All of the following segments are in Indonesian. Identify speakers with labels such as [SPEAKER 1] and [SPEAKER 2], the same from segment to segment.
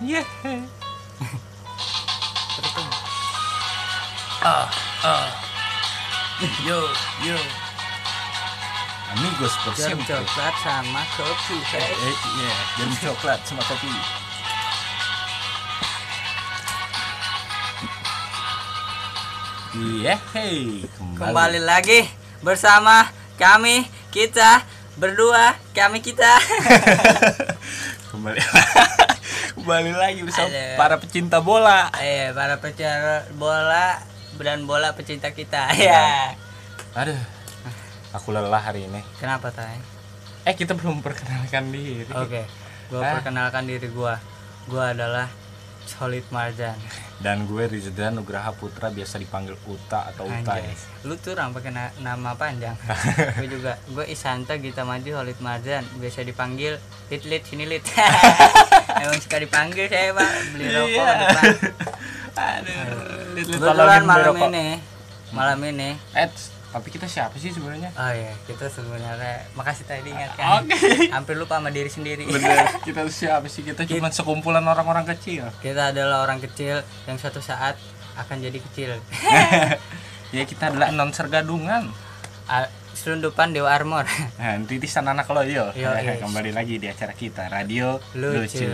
[SPEAKER 1] Iya.
[SPEAKER 2] Terus tuh. Ah, ah. Yo, yo. Amigos por
[SPEAKER 1] Jarum
[SPEAKER 2] siempre.
[SPEAKER 1] coklat sama kopi.
[SPEAKER 2] Eh,
[SPEAKER 1] Hei.
[SPEAKER 2] eh, iya, jarum coklat sama kopi. Iya, hey, kembali.
[SPEAKER 1] Kembali lagi bersama kami kita berdua kami kita.
[SPEAKER 2] Kembali. Kembali lagi bersama
[SPEAKER 1] Halo.
[SPEAKER 2] para pecinta bola.
[SPEAKER 1] Eh para pecinta bola dan bola pecinta kita. Ya.
[SPEAKER 2] Iya. Aduh. Aku lelah hari ini.
[SPEAKER 1] Kenapa tay?
[SPEAKER 2] Eh, kita belum perkenalkan diri.
[SPEAKER 1] Oke. Gua
[SPEAKER 2] Ah.
[SPEAKER 1] perkenalkan diri gua. Gua adalah Solid Marjan.
[SPEAKER 2] Dan gue Rizdan Nugraha Putra biasa dipanggil Uta atau Uta
[SPEAKER 1] Anjay.
[SPEAKER 2] ya.
[SPEAKER 1] Lu tuh orang pakai na- nama panjang. gue juga. Gue Isanta Gita Maju Holid Marjan. Biasa dipanggil Lit Lit sini Lit. Emang suka dipanggil saya pak. Beli rokok
[SPEAKER 2] Iya.
[SPEAKER 1] ke depan.
[SPEAKER 2] Aduh, lihat
[SPEAKER 1] Kebetulan malam ini, malam ini.
[SPEAKER 2] Eh, tapi kita siapa sih sebenarnya?
[SPEAKER 1] Oh iya, kita sebenarnya makasih tadi ingatkan.
[SPEAKER 2] Oke.
[SPEAKER 1] Hampir lupa sama diri sendiri.
[SPEAKER 2] Bener, kita tuh siapa sih? Kita cuma sekumpulan orang-orang kecil.
[SPEAKER 1] Kita adalah orang kecil yang suatu saat akan jadi kecil.
[SPEAKER 2] ya kita adalah announcer gadungan.
[SPEAKER 1] A- Selundupan Dewa Armor.
[SPEAKER 2] Nah, titisan anak loyo.
[SPEAKER 1] Yo, yes.
[SPEAKER 2] Eh, Kembali lagi di acara kita, Radio
[SPEAKER 1] lucu.
[SPEAKER 2] Lucu.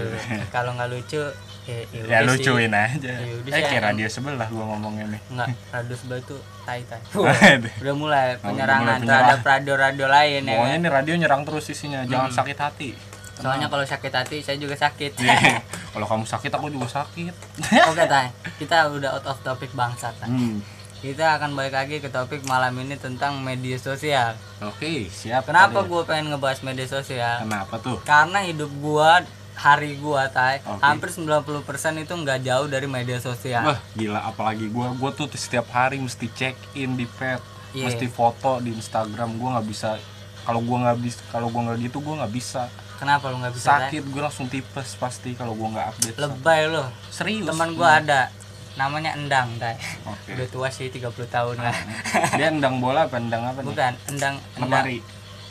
[SPEAKER 1] Kalau nggak lucu, ya,
[SPEAKER 2] ya
[SPEAKER 1] udah sih.
[SPEAKER 2] lucuin aja.
[SPEAKER 1] Ya, udah
[SPEAKER 2] eh,
[SPEAKER 1] sih,
[SPEAKER 2] kayak
[SPEAKER 1] aneh.
[SPEAKER 2] radio sebelah gua ngomongnya nih.
[SPEAKER 1] Enggak, radio sebelah itu tai tai.
[SPEAKER 2] Waduh.
[SPEAKER 1] udah mulai penyerangan
[SPEAKER 2] Oh. mulai
[SPEAKER 1] terhadap radio-radio lain ya.
[SPEAKER 2] Pokoknya
[SPEAKER 1] kan?
[SPEAKER 2] nih radio nyerang terus isinya.
[SPEAKER 1] Hmm.
[SPEAKER 2] Jangan sakit hati.
[SPEAKER 1] Soalnya kalau sakit hati saya juga sakit.
[SPEAKER 2] Iya. Kalau kamu sakit, aku juga sakit.
[SPEAKER 1] Oke tay, kita udah out of topic bangsa tay.
[SPEAKER 2] Hmm.
[SPEAKER 1] Kita akan balik lagi ke topik malam ini tentang media sosial.
[SPEAKER 2] Oke, siap.
[SPEAKER 1] Kenapa
[SPEAKER 2] Tadi.
[SPEAKER 1] gue pengen ngebahas media sosial?
[SPEAKER 2] Kenapa tuh?
[SPEAKER 1] Karena hidup gua hari gua tay
[SPEAKER 2] Oke.
[SPEAKER 1] hampir 90% itu nggak jauh dari media sosial.
[SPEAKER 2] Wah, gila apalagi gua gua tuh setiap hari mesti check in di pet,
[SPEAKER 1] Iya.
[SPEAKER 2] mesti foto di Instagram. Gua nggak bisa kalau gua nggak bisa kalau gua nggak gitu gua nggak bisa.
[SPEAKER 1] Kenapa lu nggak bisa? ya? Tay?
[SPEAKER 2] Sakit gua langsung tipes pasti kalau gua nggak update.
[SPEAKER 1] Lebay lo.
[SPEAKER 2] Serius.
[SPEAKER 1] Teman gua ada namanya Endang tay.
[SPEAKER 2] Oke.
[SPEAKER 1] Udah tua sih 30 tahun lah.
[SPEAKER 2] Dia endang bola apa endang apa nih?
[SPEAKER 1] Bukan, endang endang
[SPEAKER 2] Lemari.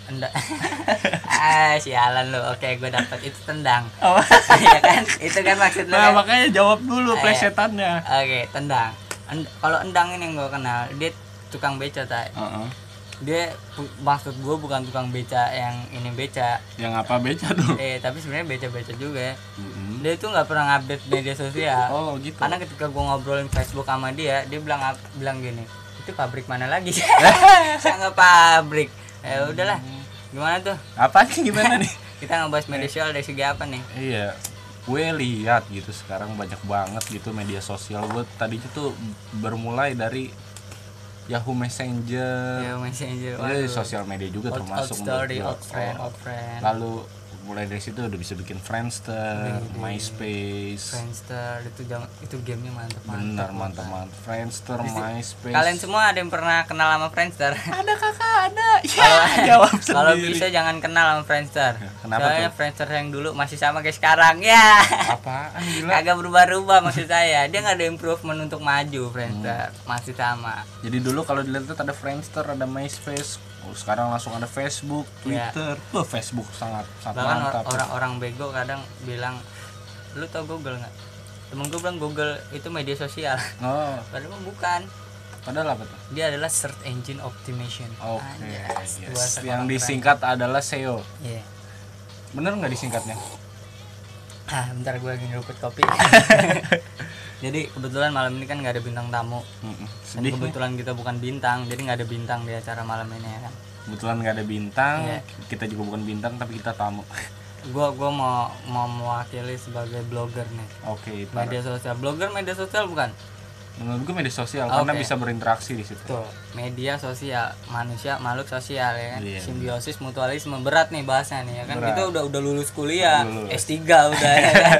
[SPEAKER 1] endang. ah, sialan lu. Oke, gue dapat itu tendang.
[SPEAKER 2] Oh.
[SPEAKER 1] Iya kan? Itu kan maksud lu.
[SPEAKER 2] Nah,
[SPEAKER 1] kan?
[SPEAKER 2] makanya jawab dulu
[SPEAKER 1] Ayo.
[SPEAKER 2] plesetannya.
[SPEAKER 1] Oke, tendang. End- Kalau endang ini yang gue kenal, dia tukang beca tay.
[SPEAKER 2] Heeh.
[SPEAKER 1] Dia bu- maksud gue bukan tukang beca yang ini beca.
[SPEAKER 2] Yang apa beca tuh?
[SPEAKER 1] Eh, tapi sebenarnya beca-beca juga. ya.
[SPEAKER 2] Mm-mm.
[SPEAKER 1] Dia itu nggak pernah update media sosial.
[SPEAKER 2] Oh, gitu.
[SPEAKER 1] Karena ketika gue ngobrolin Facebook sama dia, dia bilang ap- bilang gini, itu pabrik mana lagi? Saya nggak pabrik. Ya udahlah.
[SPEAKER 2] Hmm.
[SPEAKER 1] Gimana tuh?
[SPEAKER 2] Apa sih gimana nih?
[SPEAKER 1] Kita ngebahas media sosial dari segi apa nih?
[SPEAKER 2] Iya, gue lihat gitu sekarang banyak banget gitu media sosial gue tadinya tuh bermulai dari Yahoo Messenger,
[SPEAKER 1] Ya Messenger. waduh.
[SPEAKER 2] Ini sosial media juga
[SPEAKER 1] Old, old
[SPEAKER 2] termasuk menurut Oh.
[SPEAKER 1] story,
[SPEAKER 2] gue.
[SPEAKER 1] old friend, old friend.
[SPEAKER 2] Lalu mulai dari situ udah bisa bikin Friendster, MySpace,
[SPEAKER 1] Friendster itu jam itu gamenya mantep
[SPEAKER 2] benar mantap mantap Friendster, MySpace.
[SPEAKER 1] Kalian semua ada yang pernah kenal sama Friendster?
[SPEAKER 2] ada kakak ada, ya jawab
[SPEAKER 1] Kalau
[SPEAKER 2] sendiri. Ya,
[SPEAKER 1] bisa jangan kenal sama Friendster.
[SPEAKER 2] Kenapa
[SPEAKER 1] Soalnya
[SPEAKER 2] tuh?
[SPEAKER 1] Friendster yang dulu masih sama kayak sekarang ya.
[SPEAKER 2] Apaan gila?
[SPEAKER 1] Kagak berubah-ubah maksud saya. Dia nggak ada improvement untuk maju Friendster,
[SPEAKER 2] Hmm.
[SPEAKER 1] masih sama.
[SPEAKER 2] Jadi dulu kalau dilihat ada Friendster, ada MySpace, oh, sekarang langsung ada Facebook,
[SPEAKER 1] Iya.
[SPEAKER 2] Twitter. Wah, Facebook sangat sangat
[SPEAKER 1] Bahkan or-
[SPEAKER 2] mantap.
[SPEAKER 1] orang-orang bego kadang bilang, lu tau Google nggak? Temen gue bilang Google itu media sosial.
[SPEAKER 2] Oh,
[SPEAKER 1] Padahal bukan.
[SPEAKER 2] padahal apa tuh?
[SPEAKER 1] Dia adalah search engine optimization.
[SPEAKER 2] Oke.
[SPEAKER 1] Anjas,
[SPEAKER 2] yes.
[SPEAKER 1] dua sekolah
[SPEAKER 2] Yang
[SPEAKER 1] keren.
[SPEAKER 2] disingkat adalah SEO.
[SPEAKER 1] Iya.
[SPEAKER 2] Bener nggak disingkatnya?
[SPEAKER 1] Ah, bentar gue lagi nyeruput kopi. jadi kebetulan malam ini kan nggak ada bintang tamu.
[SPEAKER 2] Mm-mm.
[SPEAKER 1] Dan
[SPEAKER 2] Sedih. nih.
[SPEAKER 1] kebetulan kita bukan bintang, jadi nggak ada bintang di acara malam ini ya kan.
[SPEAKER 2] Kebetulan nggak ada bintang.
[SPEAKER 1] Iya.
[SPEAKER 2] Kita juga bukan bintang, tapi kita tamu.
[SPEAKER 1] Gua gua mau mau mewakili sebagai blogger nih.
[SPEAKER 2] Oke, para-
[SPEAKER 1] Media sosial, blogger media sosial bukan?
[SPEAKER 2] menurut gue media sosial
[SPEAKER 1] Oke.
[SPEAKER 2] karena bisa berinteraksi di situ.
[SPEAKER 1] Tuh, media sosial, manusia makhluk sosial ya kan.
[SPEAKER 2] Iya.
[SPEAKER 1] Simbiosis mutualisme berat nih bahasnya nih ya kan.
[SPEAKER 2] Berat.
[SPEAKER 1] Kita udah udah lulus kuliah,
[SPEAKER 2] Lulus.
[SPEAKER 1] S3 udah ya kan.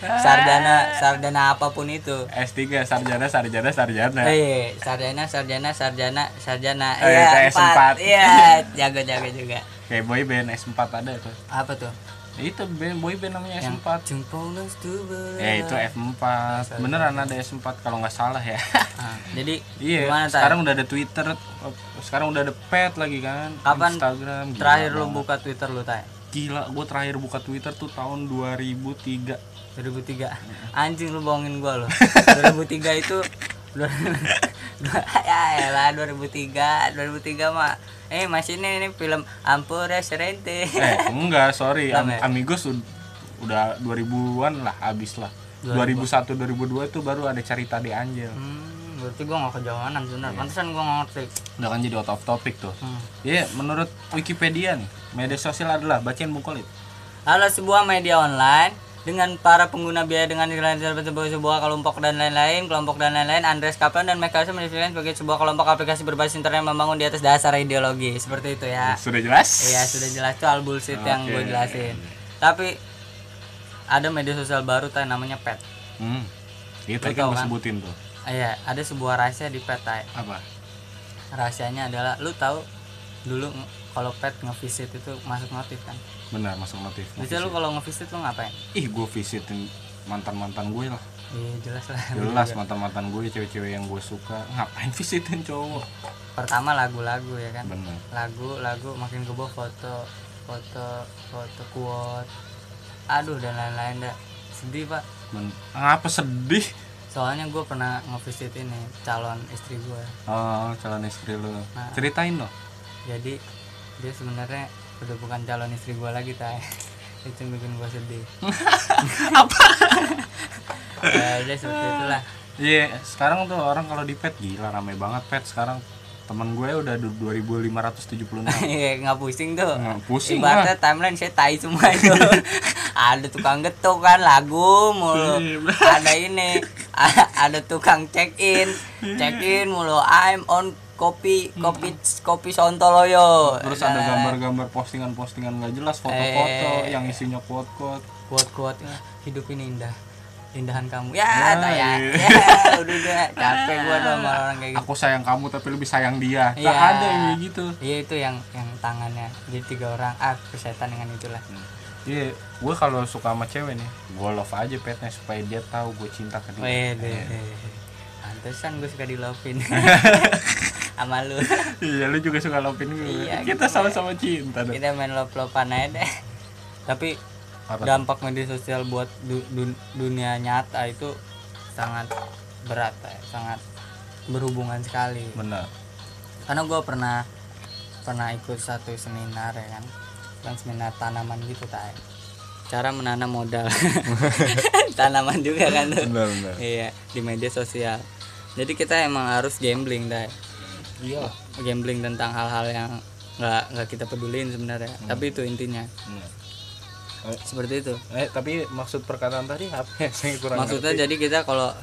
[SPEAKER 1] Sarjana sarjana apapun itu.
[SPEAKER 2] S3 sarjana sarjana sarjana.
[SPEAKER 1] Eh, sarjana, sarjana, sarjana, sarjana.
[SPEAKER 2] Eh,
[SPEAKER 1] Iya,
[SPEAKER 2] itu S4.
[SPEAKER 1] empat. Iya, jago jago juga.
[SPEAKER 2] Kayak boy band S4 ada tuh.
[SPEAKER 1] Apa tuh?
[SPEAKER 2] Itu band boy band namanya
[SPEAKER 1] Yang
[SPEAKER 2] S4.
[SPEAKER 1] jempolus tuh berat.
[SPEAKER 2] Ya itu F4 Beneran ada F4 kalau nggak salah ya
[SPEAKER 1] Ah, jadi
[SPEAKER 2] Iya
[SPEAKER 1] gimana tay?
[SPEAKER 2] sekarang udah ada Twitter Sekarang udah ada pet lagi kan
[SPEAKER 1] Kapan
[SPEAKER 2] Instagram gila
[SPEAKER 1] Terakhir lu
[SPEAKER 2] banget.
[SPEAKER 1] buka Twitter lu tay?
[SPEAKER 2] Gila gue terakhir buka Twitter tuh tahun 2003
[SPEAKER 1] 2003 anjing lu bohongin gua lo 2003 itu dua- dua- ya elah 2003 2003 mah eh masih ini, ini film Ampures Rente
[SPEAKER 2] eh enggak sorry Am-
[SPEAKER 1] Lama ya?
[SPEAKER 2] amigos ud- udah 2000-an lah habis lah 2001 2002 itu baru ada cerita di Angel
[SPEAKER 1] hmm, berarti gua nggak kejauhanan bener pantesan gua nggak ngerti
[SPEAKER 2] udah kan jadi out of topic tuh
[SPEAKER 1] Hmm.
[SPEAKER 2] Iya, menurut Wikipedia nih, media sosial adalah bacain bungkulit.
[SPEAKER 1] adalah sebuah media online dengan para pengguna biaya dengan nilai sebagai sebuah kelompok dan lain-lain, kelompok dan lain-lain, Andres Kaplan dan Michael Smith mendefinisikan sebagai sebuah kelompok aplikasi berbasis internet yang membangun di atas dasar ideologi. Seperti itu ya.
[SPEAKER 2] Sudah jelas?
[SPEAKER 1] Iya sudah jelas tuh all bullshit yang gue
[SPEAKER 2] Oke.
[SPEAKER 1] jelasin. Tapi ada media sosial baru tuh yang namanya pet.
[SPEAKER 2] Hmm. Itu
[SPEAKER 1] Lo
[SPEAKER 2] tadi
[SPEAKER 1] tau
[SPEAKER 2] kan gue
[SPEAKER 1] kan?
[SPEAKER 2] sebutin tuh.
[SPEAKER 1] Ah, Iya ada sebuah rahasia di pet Tay.
[SPEAKER 2] Apa?
[SPEAKER 1] Rahasianya adalah lu tahu dulu nge- kalau pet ngevisit itu masuk notif kan.
[SPEAKER 2] Benar, masuk notif.
[SPEAKER 1] Biasanya lu kalau ngevisit lu ngapain?
[SPEAKER 2] Ih, gue visitin mantan-mantan gue lah.
[SPEAKER 1] Iya jelas lah.
[SPEAKER 2] Jelas mantan-mantan gue, cewek-cewek yang gue suka. Ngapain visitin cowok?
[SPEAKER 1] Pertama lagu-lagu ya kan.
[SPEAKER 2] Benar.
[SPEAKER 1] Lagu-lagu makin ke bawah foto foto foto quote. Aduh dan lain-lain dah. Sedih pak.
[SPEAKER 2] Ben- Apa sedih?
[SPEAKER 1] Soalnya gue pernah ngevisit ini calon istri gue.
[SPEAKER 2] Oh, calon istri lu.
[SPEAKER 1] Nah.
[SPEAKER 2] Ceritain dong.
[SPEAKER 1] jadi dia sebenarnya udah bukan calon istri gua lagi tay itu yang bikin gua sedih apa ya udah seperti itulah
[SPEAKER 2] Iya, sekarang tuh orang kalau di pet gila rame banget pet sekarang. Temen gue udah du- 2576.
[SPEAKER 1] Iya, nggak pusing tuh
[SPEAKER 2] Nggak Nah, pusing
[SPEAKER 1] ibaratnya timeline saya tai semua itu ada tukang getuk kan lagu mulu ada ini a- ada tukang check in check in mulu I'm on kopi kopi kopi sontoloyo
[SPEAKER 2] Terus ada gambar-gambar postingan-postingan nggak jelas, foto-foto yang isinya quote-quote.
[SPEAKER 1] kuat kuatnya hidup ini indah indahan kamu ya
[SPEAKER 2] Ya,
[SPEAKER 1] tak ya,
[SPEAKER 2] Iya. iya. Ah.
[SPEAKER 1] ya udah udah capek gua tuh sama orang kayak gitu
[SPEAKER 2] Aku sayang kamu tapi lebih sayang dia. Tak
[SPEAKER 1] Iya.
[SPEAKER 2] ada yang kayak gitu.
[SPEAKER 1] iya itu yang yang tangannya jadi tiga orang ah kesehatan dengan itulah
[SPEAKER 2] Iya, gue kalau suka sama cewek nih, gue love aja petnya supaya dia tahu gue cinta ke dia.
[SPEAKER 1] weh deh
[SPEAKER 2] Iya.
[SPEAKER 1] pantesan gue suka di lovein sama lu
[SPEAKER 2] Iya, lu juga suka lovein gue.
[SPEAKER 1] Iya,
[SPEAKER 2] Kita sama-sama cinta dong.
[SPEAKER 1] kita main love lovean aja deh tapi
[SPEAKER 2] Apa?
[SPEAKER 1] dampak media sosial buat du- dun- dunia nyata itu sangat berat ya. sangat berhubungan sekali
[SPEAKER 2] Benar.
[SPEAKER 1] karena gue pernah pernah ikut satu seminar ya kan kan seminar tanaman gitu tay cara menanam modal tanaman juga kan tuh
[SPEAKER 2] Benar, benar.
[SPEAKER 1] iya di media sosial jadi kita emang harus gambling tay
[SPEAKER 2] Iya.
[SPEAKER 1] gambling tentang hal-hal yang nggak nggak kita peduliin sebenarnya tapi itu intinya seperti itu
[SPEAKER 2] Eh, tapi maksud perkataan tadi apa? ya? Saya kurang
[SPEAKER 1] maksudnya jadi kita kalau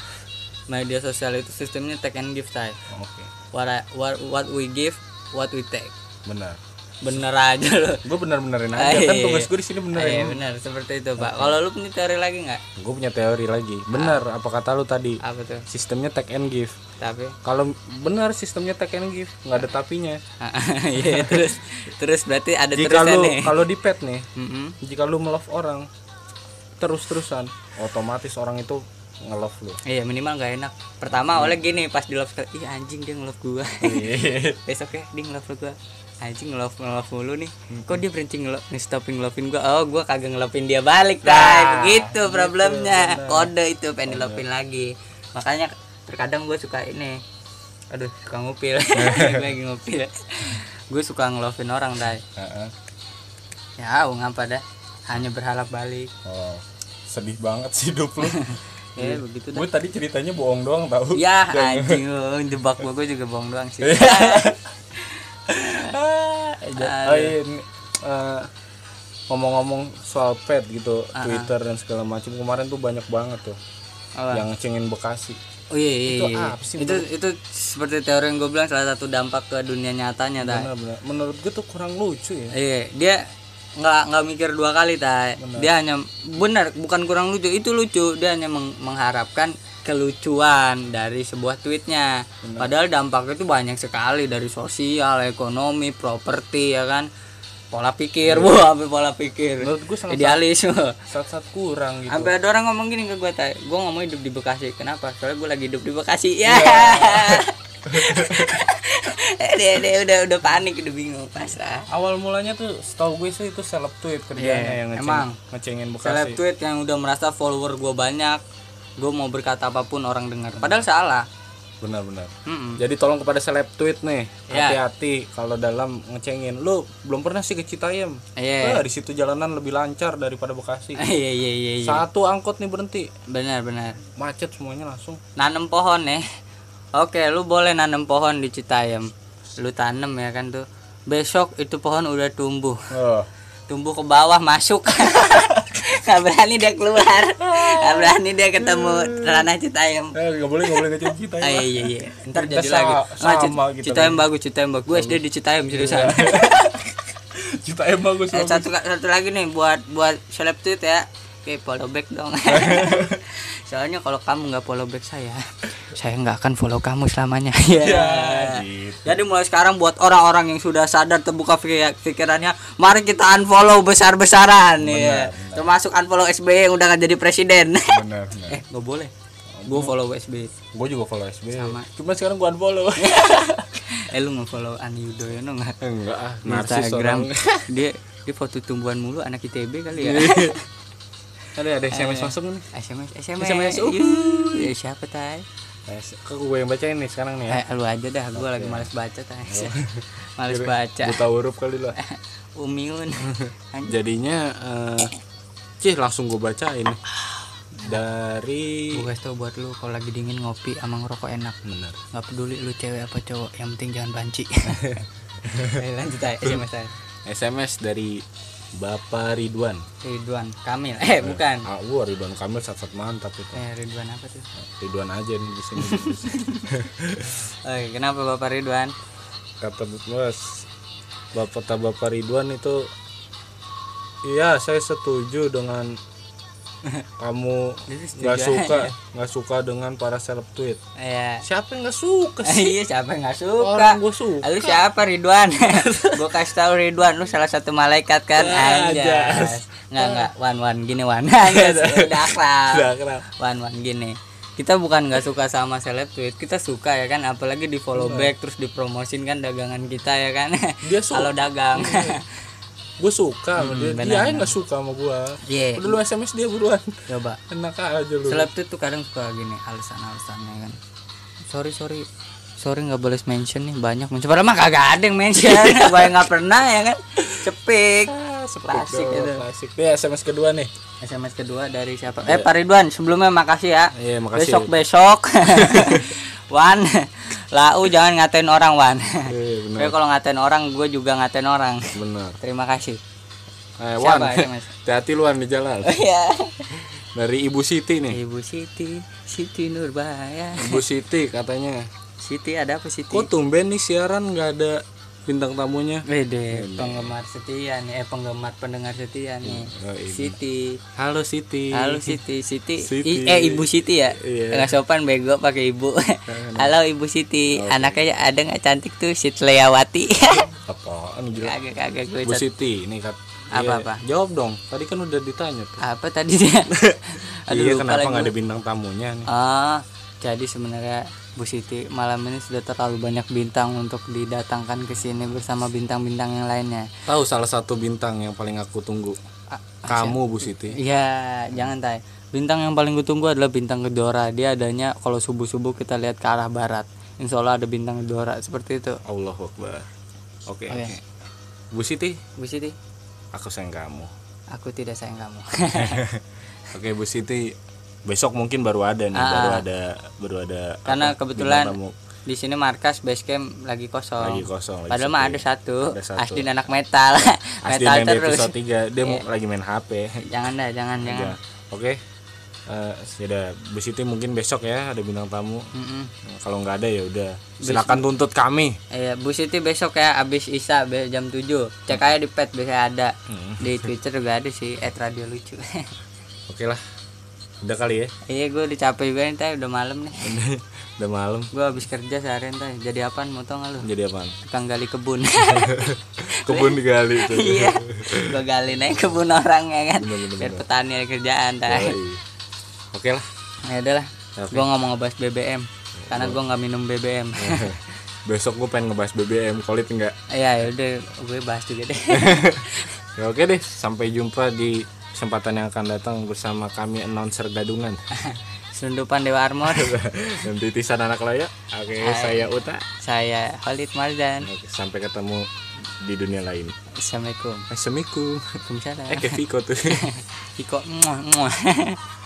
[SPEAKER 1] media sosial itu sistemnya take and give tay
[SPEAKER 2] ngerti. Oke.
[SPEAKER 1] what, I- what what we give what we take
[SPEAKER 2] Benar.
[SPEAKER 1] bener aja loh
[SPEAKER 2] Gue benar-benarin aja.
[SPEAKER 1] Iya.
[SPEAKER 2] Kan tugas gue di sini
[SPEAKER 1] Ah, iya
[SPEAKER 2] benerin.
[SPEAKER 1] benar seperti itu pak. Kalau lu punya teori lagi nggak?
[SPEAKER 2] Gue punya teori lagi. Benar, apa kata lu tadi?
[SPEAKER 1] Apa tuh?
[SPEAKER 2] Sistemnya take and give.
[SPEAKER 1] Tapi
[SPEAKER 2] Kalau benar sistemnya take and give, nggak ada tapinya.
[SPEAKER 1] iya terus terus berarti ada
[SPEAKER 2] Jika
[SPEAKER 1] terusnya
[SPEAKER 2] lu
[SPEAKER 1] nih.
[SPEAKER 2] kalau di pet nih,
[SPEAKER 1] Mm-mm.
[SPEAKER 2] jika lu nge-love orang terus-terusan, otomatis orang itu nge-love lu.
[SPEAKER 1] Iya minimal nggak enak. Pertama
[SPEAKER 2] Iya.
[SPEAKER 1] oleh gini pas di love ke- ih anjing dia nge-love gua. Besok ya dia nge-love gua. Anjing nge-love nge-love mulu nih. Kok dia berhenti nge-love stopping nge-lovein gua? Oh, gua kagak nge-lovein dia balik, tay. Begitu problemnya. Nah, gitu, Kode itu pengen di-lovein lagi. Makanya terkadang gua suka ini. Aduh, suka ngupil. Gua lagi ngupil. Gue suka nge-lovein orang, tay.
[SPEAKER 2] Heeh.
[SPEAKER 1] ya ngapa dah hanya berharap balik
[SPEAKER 2] Oh, sedih banget sih hidup lu.
[SPEAKER 1] ya begitu dah
[SPEAKER 2] gue tadi ceritanya bohong doang tahu.
[SPEAKER 1] ya anjing lu jebak gua gua juga bohong doang sih
[SPEAKER 2] Ah,
[SPEAKER 1] Eh,
[SPEAKER 2] ja- oh, iya, ini, eh, ngomong-ngomong soal pet gitu, Twitter dan segala macam kemarin tuh banyak banget tuh
[SPEAKER 1] Apa?
[SPEAKER 2] yang ngecengin Bekasi.
[SPEAKER 1] oh iya, iya,
[SPEAKER 2] Itu
[SPEAKER 1] iya.
[SPEAKER 2] apa sih,
[SPEAKER 1] itu itu, seperti teori yang gue bilang salah satu dampak ke dunia nyatanya tay
[SPEAKER 2] Benar-benar. Menurut gue tuh kurang lucu ya.
[SPEAKER 1] iya dia nggak nggak mikir dua kali tay dia hanya benar bukan kurang lucu itu lucu dia hanya meng- mengharapkan kelucuan dari sebuah tweetnya padahal dampaknya itu banyak sekali dari sosial ekonomi properti ya kan pola pikir
[SPEAKER 2] Iya.
[SPEAKER 1] wah sampai pola pikir
[SPEAKER 2] Menurut gue sangat
[SPEAKER 1] idealis
[SPEAKER 2] sangat kurang gitu.
[SPEAKER 1] sampai ada orang ngomong gini ke gue tay gue nggak mau hidup Iya. di Bekasi kenapa soalnya gue lagi hidup di Bekasi ya dia, dia udah udah panik udah bingung pasrah
[SPEAKER 2] awal mulanya tuh setahu gue sih itu seleb tweet kerjanya
[SPEAKER 1] Iya,
[SPEAKER 2] yang ngeceng,
[SPEAKER 1] emang.
[SPEAKER 2] ngecengin Bekasi
[SPEAKER 1] seleb tweet yang udah merasa follower gue banyak gue mau berkata apapun orang dengar padahal salah
[SPEAKER 2] benar-benar
[SPEAKER 1] Mm-mm.
[SPEAKER 2] jadi tolong kepada seleb tweet nih
[SPEAKER 1] Iya.
[SPEAKER 2] hati-hati kalau dalam ngecengin lu belum pernah sih ke Citayam
[SPEAKER 1] Iya.
[SPEAKER 2] Wah, di situ jalanan lebih lancar daripada Bekasi
[SPEAKER 1] iya iya iya iya
[SPEAKER 2] satu angkot nih berhenti
[SPEAKER 1] benar benar
[SPEAKER 2] macet semuanya langsung
[SPEAKER 1] nanam pohon ya oke lu boleh nanam pohon di Citayam lu tanam ya kan tuh besok itu pohon udah tumbuh
[SPEAKER 2] oh.
[SPEAKER 1] tumbuh ke bawah masuk nggak berani dia keluar nggak berani dia ketemu
[SPEAKER 2] Hmm.
[SPEAKER 1] ranah Citayam
[SPEAKER 2] eh nggak boleh nggak boleh ngecengin
[SPEAKER 1] Ah,
[SPEAKER 2] Citayam
[SPEAKER 1] iya iya iya ntar
[SPEAKER 2] Kita
[SPEAKER 1] jadi
[SPEAKER 2] sa-
[SPEAKER 1] lagi
[SPEAKER 2] sama
[SPEAKER 1] Cita-
[SPEAKER 2] gitu Iya.
[SPEAKER 1] Citayam bagus Citayam bagus gue SD di Citayam jurusan
[SPEAKER 2] Citayam bagus
[SPEAKER 1] Eh,
[SPEAKER 2] bagus.
[SPEAKER 1] satu satu lagi nih buat buat seleb tweet ya oke follow back dong soalnya kalau kamu nggak follow back saya saya nggak akan follow kamu selamanya
[SPEAKER 2] Iya.
[SPEAKER 1] ya
[SPEAKER 3] gitu.
[SPEAKER 1] jadi mulai sekarang buat orang-orang yang sudah sadar terbuka pik- pikirannya mari kita unfollow besar-besaran ya termasuk unfollow SBY yang udah nggak jadi presiden
[SPEAKER 2] benar benar
[SPEAKER 1] eh nggak boleh gue follow SBY
[SPEAKER 2] gue juga follow SB
[SPEAKER 1] Sama.
[SPEAKER 2] cuma sekarang gue unfollow
[SPEAKER 1] eh lu nggak follow Ani Yudhoyono nggak
[SPEAKER 2] enggak ah
[SPEAKER 1] Di Instagram dia dia foto tumbuhan mulu anak ITB kali ya
[SPEAKER 2] ada ada
[SPEAKER 1] Eh.
[SPEAKER 2] sms masuk nih
[SPEAKER 1] SMS SMS,
[SPEAKER 2] SMS,
[SPEAKER 1] yuh. Ya, siapa tay
[SPEAKER 2] Eh, kok gue yang bacain nih sekarang nih ya
[SPEAKER 1] eh, lu aja dah gue lagi males baca tay males Eh, baca
[SPEAKER 2] buta huruf kali lah
[SPEAKER 1] umiun Anjing.
[SPEAKER 2] jadinya eh cih langsung gue bacain dari
[SPEAKER 1] gue kasih tau buat lu kalau lagi dingin ngopi sama ngerokok enak
[SPEAKER 2] benar
[SPEAKER 1] nggak peduli lu cewek apa cowok yang penting jangan banci Ayo Eh, lanjut tay SMS tay
[SPEAKER 2] sms dari bapak Ridwan
[SPEAKER 1] Ridwan Kamil eh bukan
[SPEAKER 2] ah wah Ridwan Kamil sangat mantap itu
[SPEAKER 1] eh Ridwan apa tuh
[SPEAKER 2] Ridwan aja nih di sini
[SPEAKER 1] Oke, kenapa bapak Ridwan
[SPEAKER 2] kata Mas Bapak kata Bapak Ridwan itu iya saya setuju dengan kamu
[SPEAKER 1] Jadi setuju
[SPEAKER 2] nggak
[SPEAKER 1] aja.
[SPEAKER 2] suka nggak suka dengan para seleb tweet
[SPEAKER 1] ya
[SPEAKER 2] siapa yang nggak suka sih
[SPEAKER 1] iya siapa yang nggak
[SPEAKER 2] orang
[SPEAKER 1] suka
[SPEAKER 2] gue suka
[SPEAKER 1] Lu siapa Ridwan? gua kasih tahu Ridwan lu salah satu malaikat kan
[SPEAKER 2] Ah,
[SPEAKER 1] aja.
[SPEAKER 2] jas.
[SPEAKER 1] Enggak enggak Wan Wan gini Wan. Anjas, Udah akrab.
[SPEAKER 2] Udah akrab.
[SPEAKER 1] Wan Wan gini. Kita bukan nggak suka sama seleb tweet, kita suka ya kan apalagi di follow back terus dipromosin kan dagangan kita ya kan.
[SPEAKER 2] Iya. Dia suka. Iya.
[SPEAKER 1] Kalau dagang.
[SPEAKER 2] gue suka sama dia
[SPEAKER 1] Hmm, benar,
[SPEAKER 2] dia aja nggak suka sama gue
[SPEAKER 1] Iya.
[SPEAKER 2] udah lu sms dia buruan
[SPEAKER 1] Coba.
[SPEAKER 2] enak aja lu
[SPEAKER 1] Seleb tweet tuh kadang suka gini alasan-alasannya kan. Sorry sorry sorry nggak boleh mention nih banyak mention padahal mah kagak ada yang mention banyak nggak pernah ya kan cepik
[SPEAKER 2] Ah, seperti
[SPEAKER 1] Klasik
[SPEAKER 2] itu,
[SPEAKER 1] itu.
[SPEAKER 2] klasik dia sms kedua nih
[SPEAKER 1] SMS kedua dari siapa? Eh Pak Ridwan, sebelumnya makasih ya.
[SPEAKER 2] Iya, makasih.
[SPEAKER 1] Besok besok. Wan, lau jangan ngatain orang Wan.
[SPEAKER 2] Iya, benar.
[SPEAKER 1] Gue kalau ngatain orang, gue juga ngatain orang.
[SPEAKER 2] benar
[SPEAKER 1] Terima kasih.
[SPEAKER 2] eh, Wan
[SPEAKER 1] Siapa SMS?
[SPEAKER 2] hati-hati lu Wan di jalan
[SPEAKER 1] Iya.
[SPEAKER 2] dari ibu Siti nih
[SPEAKER 1] Ibu Siti, Siti Nurbaya.
[SPEAKER 2] ibu Siti
[SPEAKER 1] Iya.
[SPEAKER 2] katanya
[SPEAKER 1] Siti ada apa Siti?
[SPEAKER 2] Kok tumben nih siaran nggak ada bintang tamunya?
[SPEAKER 1] Wede, penggemar setia nih, eh penggemar pendengar setia nih.
[SPEAKER 2] Oh, iya.
[SPEAKER 1] Siti.
[SPEAKER 2] Halo Siti.
[SPEAKER 1] Halo Siti, Siti,
[SPEAKER 2] Siti.
[SPEAKER 1] I- eh Ibu Siti ya,
[SPEAKER 2] Iya.
[SPEAKER 1] nggak sopan bego pakai Ibu. Halo Ibu Siti, anaknya ada nggak cantik tuh Sitleawati?
[SPEAKER 2] Apaan gila?
[SPEAKER 1] kagak kagak gue
[SPEAKER 2] Bu
[SPEAKER 1] cat-
[SPEAKER 2] Iya. Siti nih kat.
[SPEAKER 1] Apa,
[SPEAKER 2] Iya,
[SPEAKER 1] apa?
[SPEAKER 2] Jawab dong. Tadi kan udah ditanya tuh.
[SPEAKER 1] apa tadi dia? Aduh,
[SPEAKER 2] iya
[SPEAKER 1] lupa
[SPEAKER 2] kenapa
[SPEAKER 1] lagi
[SPEAKER 2] nggak
[SPEAKER 1] gue.
[SPEAKER 2] ada bintang tamunya nih?
[SPEAKER 1] Oh, jadi sebenarnya Bu Siti malam ini sudah terlalu banyak bintang untuk didatangkan ke sini bersama bintang-bintang yang lainnya.
[SPEAKER 2] Tahu salah satu bintang yang paling aku tunggu?
[SPEAKER 1] A-
[SPEAKER 2] Kamu Bu Siti.
[SPEAKER 1] Iya, jangan tay. Bintang yang paling gue tunggu adalah bintang Kedora. Dia adanya kalau subuh subuh kita lihat ke arah barat. Insya Allah ada bintang Kedora seperti itu.
[SPEAKER 2] Allah Akbar.
[SPEAKER 1] Oke.
[SPEAKER 2] Oke. oke. Bu Siti,
[SPEAKER 1] Bu Siti,
[SPEAKER 2] aku sayang kamu.
[SPEAKER 1] aku tidak sayang kamu.
[SPEAKER 2] Oke Bu Siti, besok mungkin baru ada nih,
[SPEAKER 1] Ah.
[SPEAKER 2] baru ada baru ada
[SPEAKER 1] Karena
[SPEAKER 2] apa,
[SPEAKER 1] kebetulan
[SPEAKER 2] bintang tamu
[SPEAKER 1] di sini markas base camp lagi kosong.
[SPEAKER 2] lagi kosong. lagi
[SPEAKER 1] Padahal mah
[SPEAKER 2] sepi.
[SPEAKER 1] ada satu.
[SPEAKER 2] Ada satu.
[SPEAKER 1] Asdin anak metal.
[SPEAKER 2] Asli
[SPEAKER 1] metal
[SPEAKER 2] main di
[SPEAKER 1] terus.
[SPEAKER 2] episode 3 Dia mau lagi main HP
[SPEAKER 1] Jangan dah, jangan jangan.
[SPEAKER 2] Udah. Oke Eh, Sudah Bu Siti mungkin besok ya Ada bintang tamu
[SPEAKER 1] Mm-mm.
[SPEAKER 2] Kalau nggak ada ya udah Silahkan tuntut kami
[SPEAKER 1] Iya, Bu Siti besok ya abis Isa be- jam 7. Cek aja di pet biasanya ada.
[SPEAKER 2] Hmm.
[SPEAKER 1] Di Twitter juga ada sih @radio lucu.
[SPEAKER 2] Oke lah Udah kali ya
[SPEAKER 1] Iya gue udah capek juga nih tay udah malam nih
[SPEAKER 2] Udah malam
[SPEAKER 1] Gue habis kerja seharian tay jadi apaan mau tau gak lu?
[SPEAKER 2] Jadi apaan?
[SPEAKER 1] Tukang gali kebun
[SPEAKER 2] Kebun digali itu
[SPEAKER 1] Iya Gue gali naik kebun orang ya kan
[SPEAKER 2] Bener, bener,
[SPEAKER 1] Biar
[SPEAKER 2] bener.
[SPEAKER 1] petani ada kerjaan tay
[SPEAKER 2] Yoi. Iya. Oke lah
[SPEAKER 1] Ya udahlah
[SPEAKER 2] Oke.
[SPEAKER 1] Gue gak mau ngebahas BBM Karena gue gak minum BBM
[SPEAKER 2] besok gue pengen ngebahas BBM kolit enggak
[SPEAKER 1] ya udah gue bahas juga deh
[SPEAKER 2] ya oke deh sampai jumpa di kesempatan yang akan datang bersama kami announcer gadungan
[SPEAKER 1] Sundupan Dewa Armor
[SPEAKER 2] dan titisan anak layak oke
[SPEAKER 1] Hai.
[SPEAKER 2] saya Uta
[SPEAKER 1] saya Khalid Mardan
[SPEAKER 2] Oke, sampai ketemu di dunia lain
[SPEAKER 1] Assalamualaikum
[SPEAKER 2] Assalamualaikum
[SPEAKER 1] Waalaikumsalam
[SPEAKER 2] eh kayak Viko tuh
[SPEAKER 1] Iko muah muah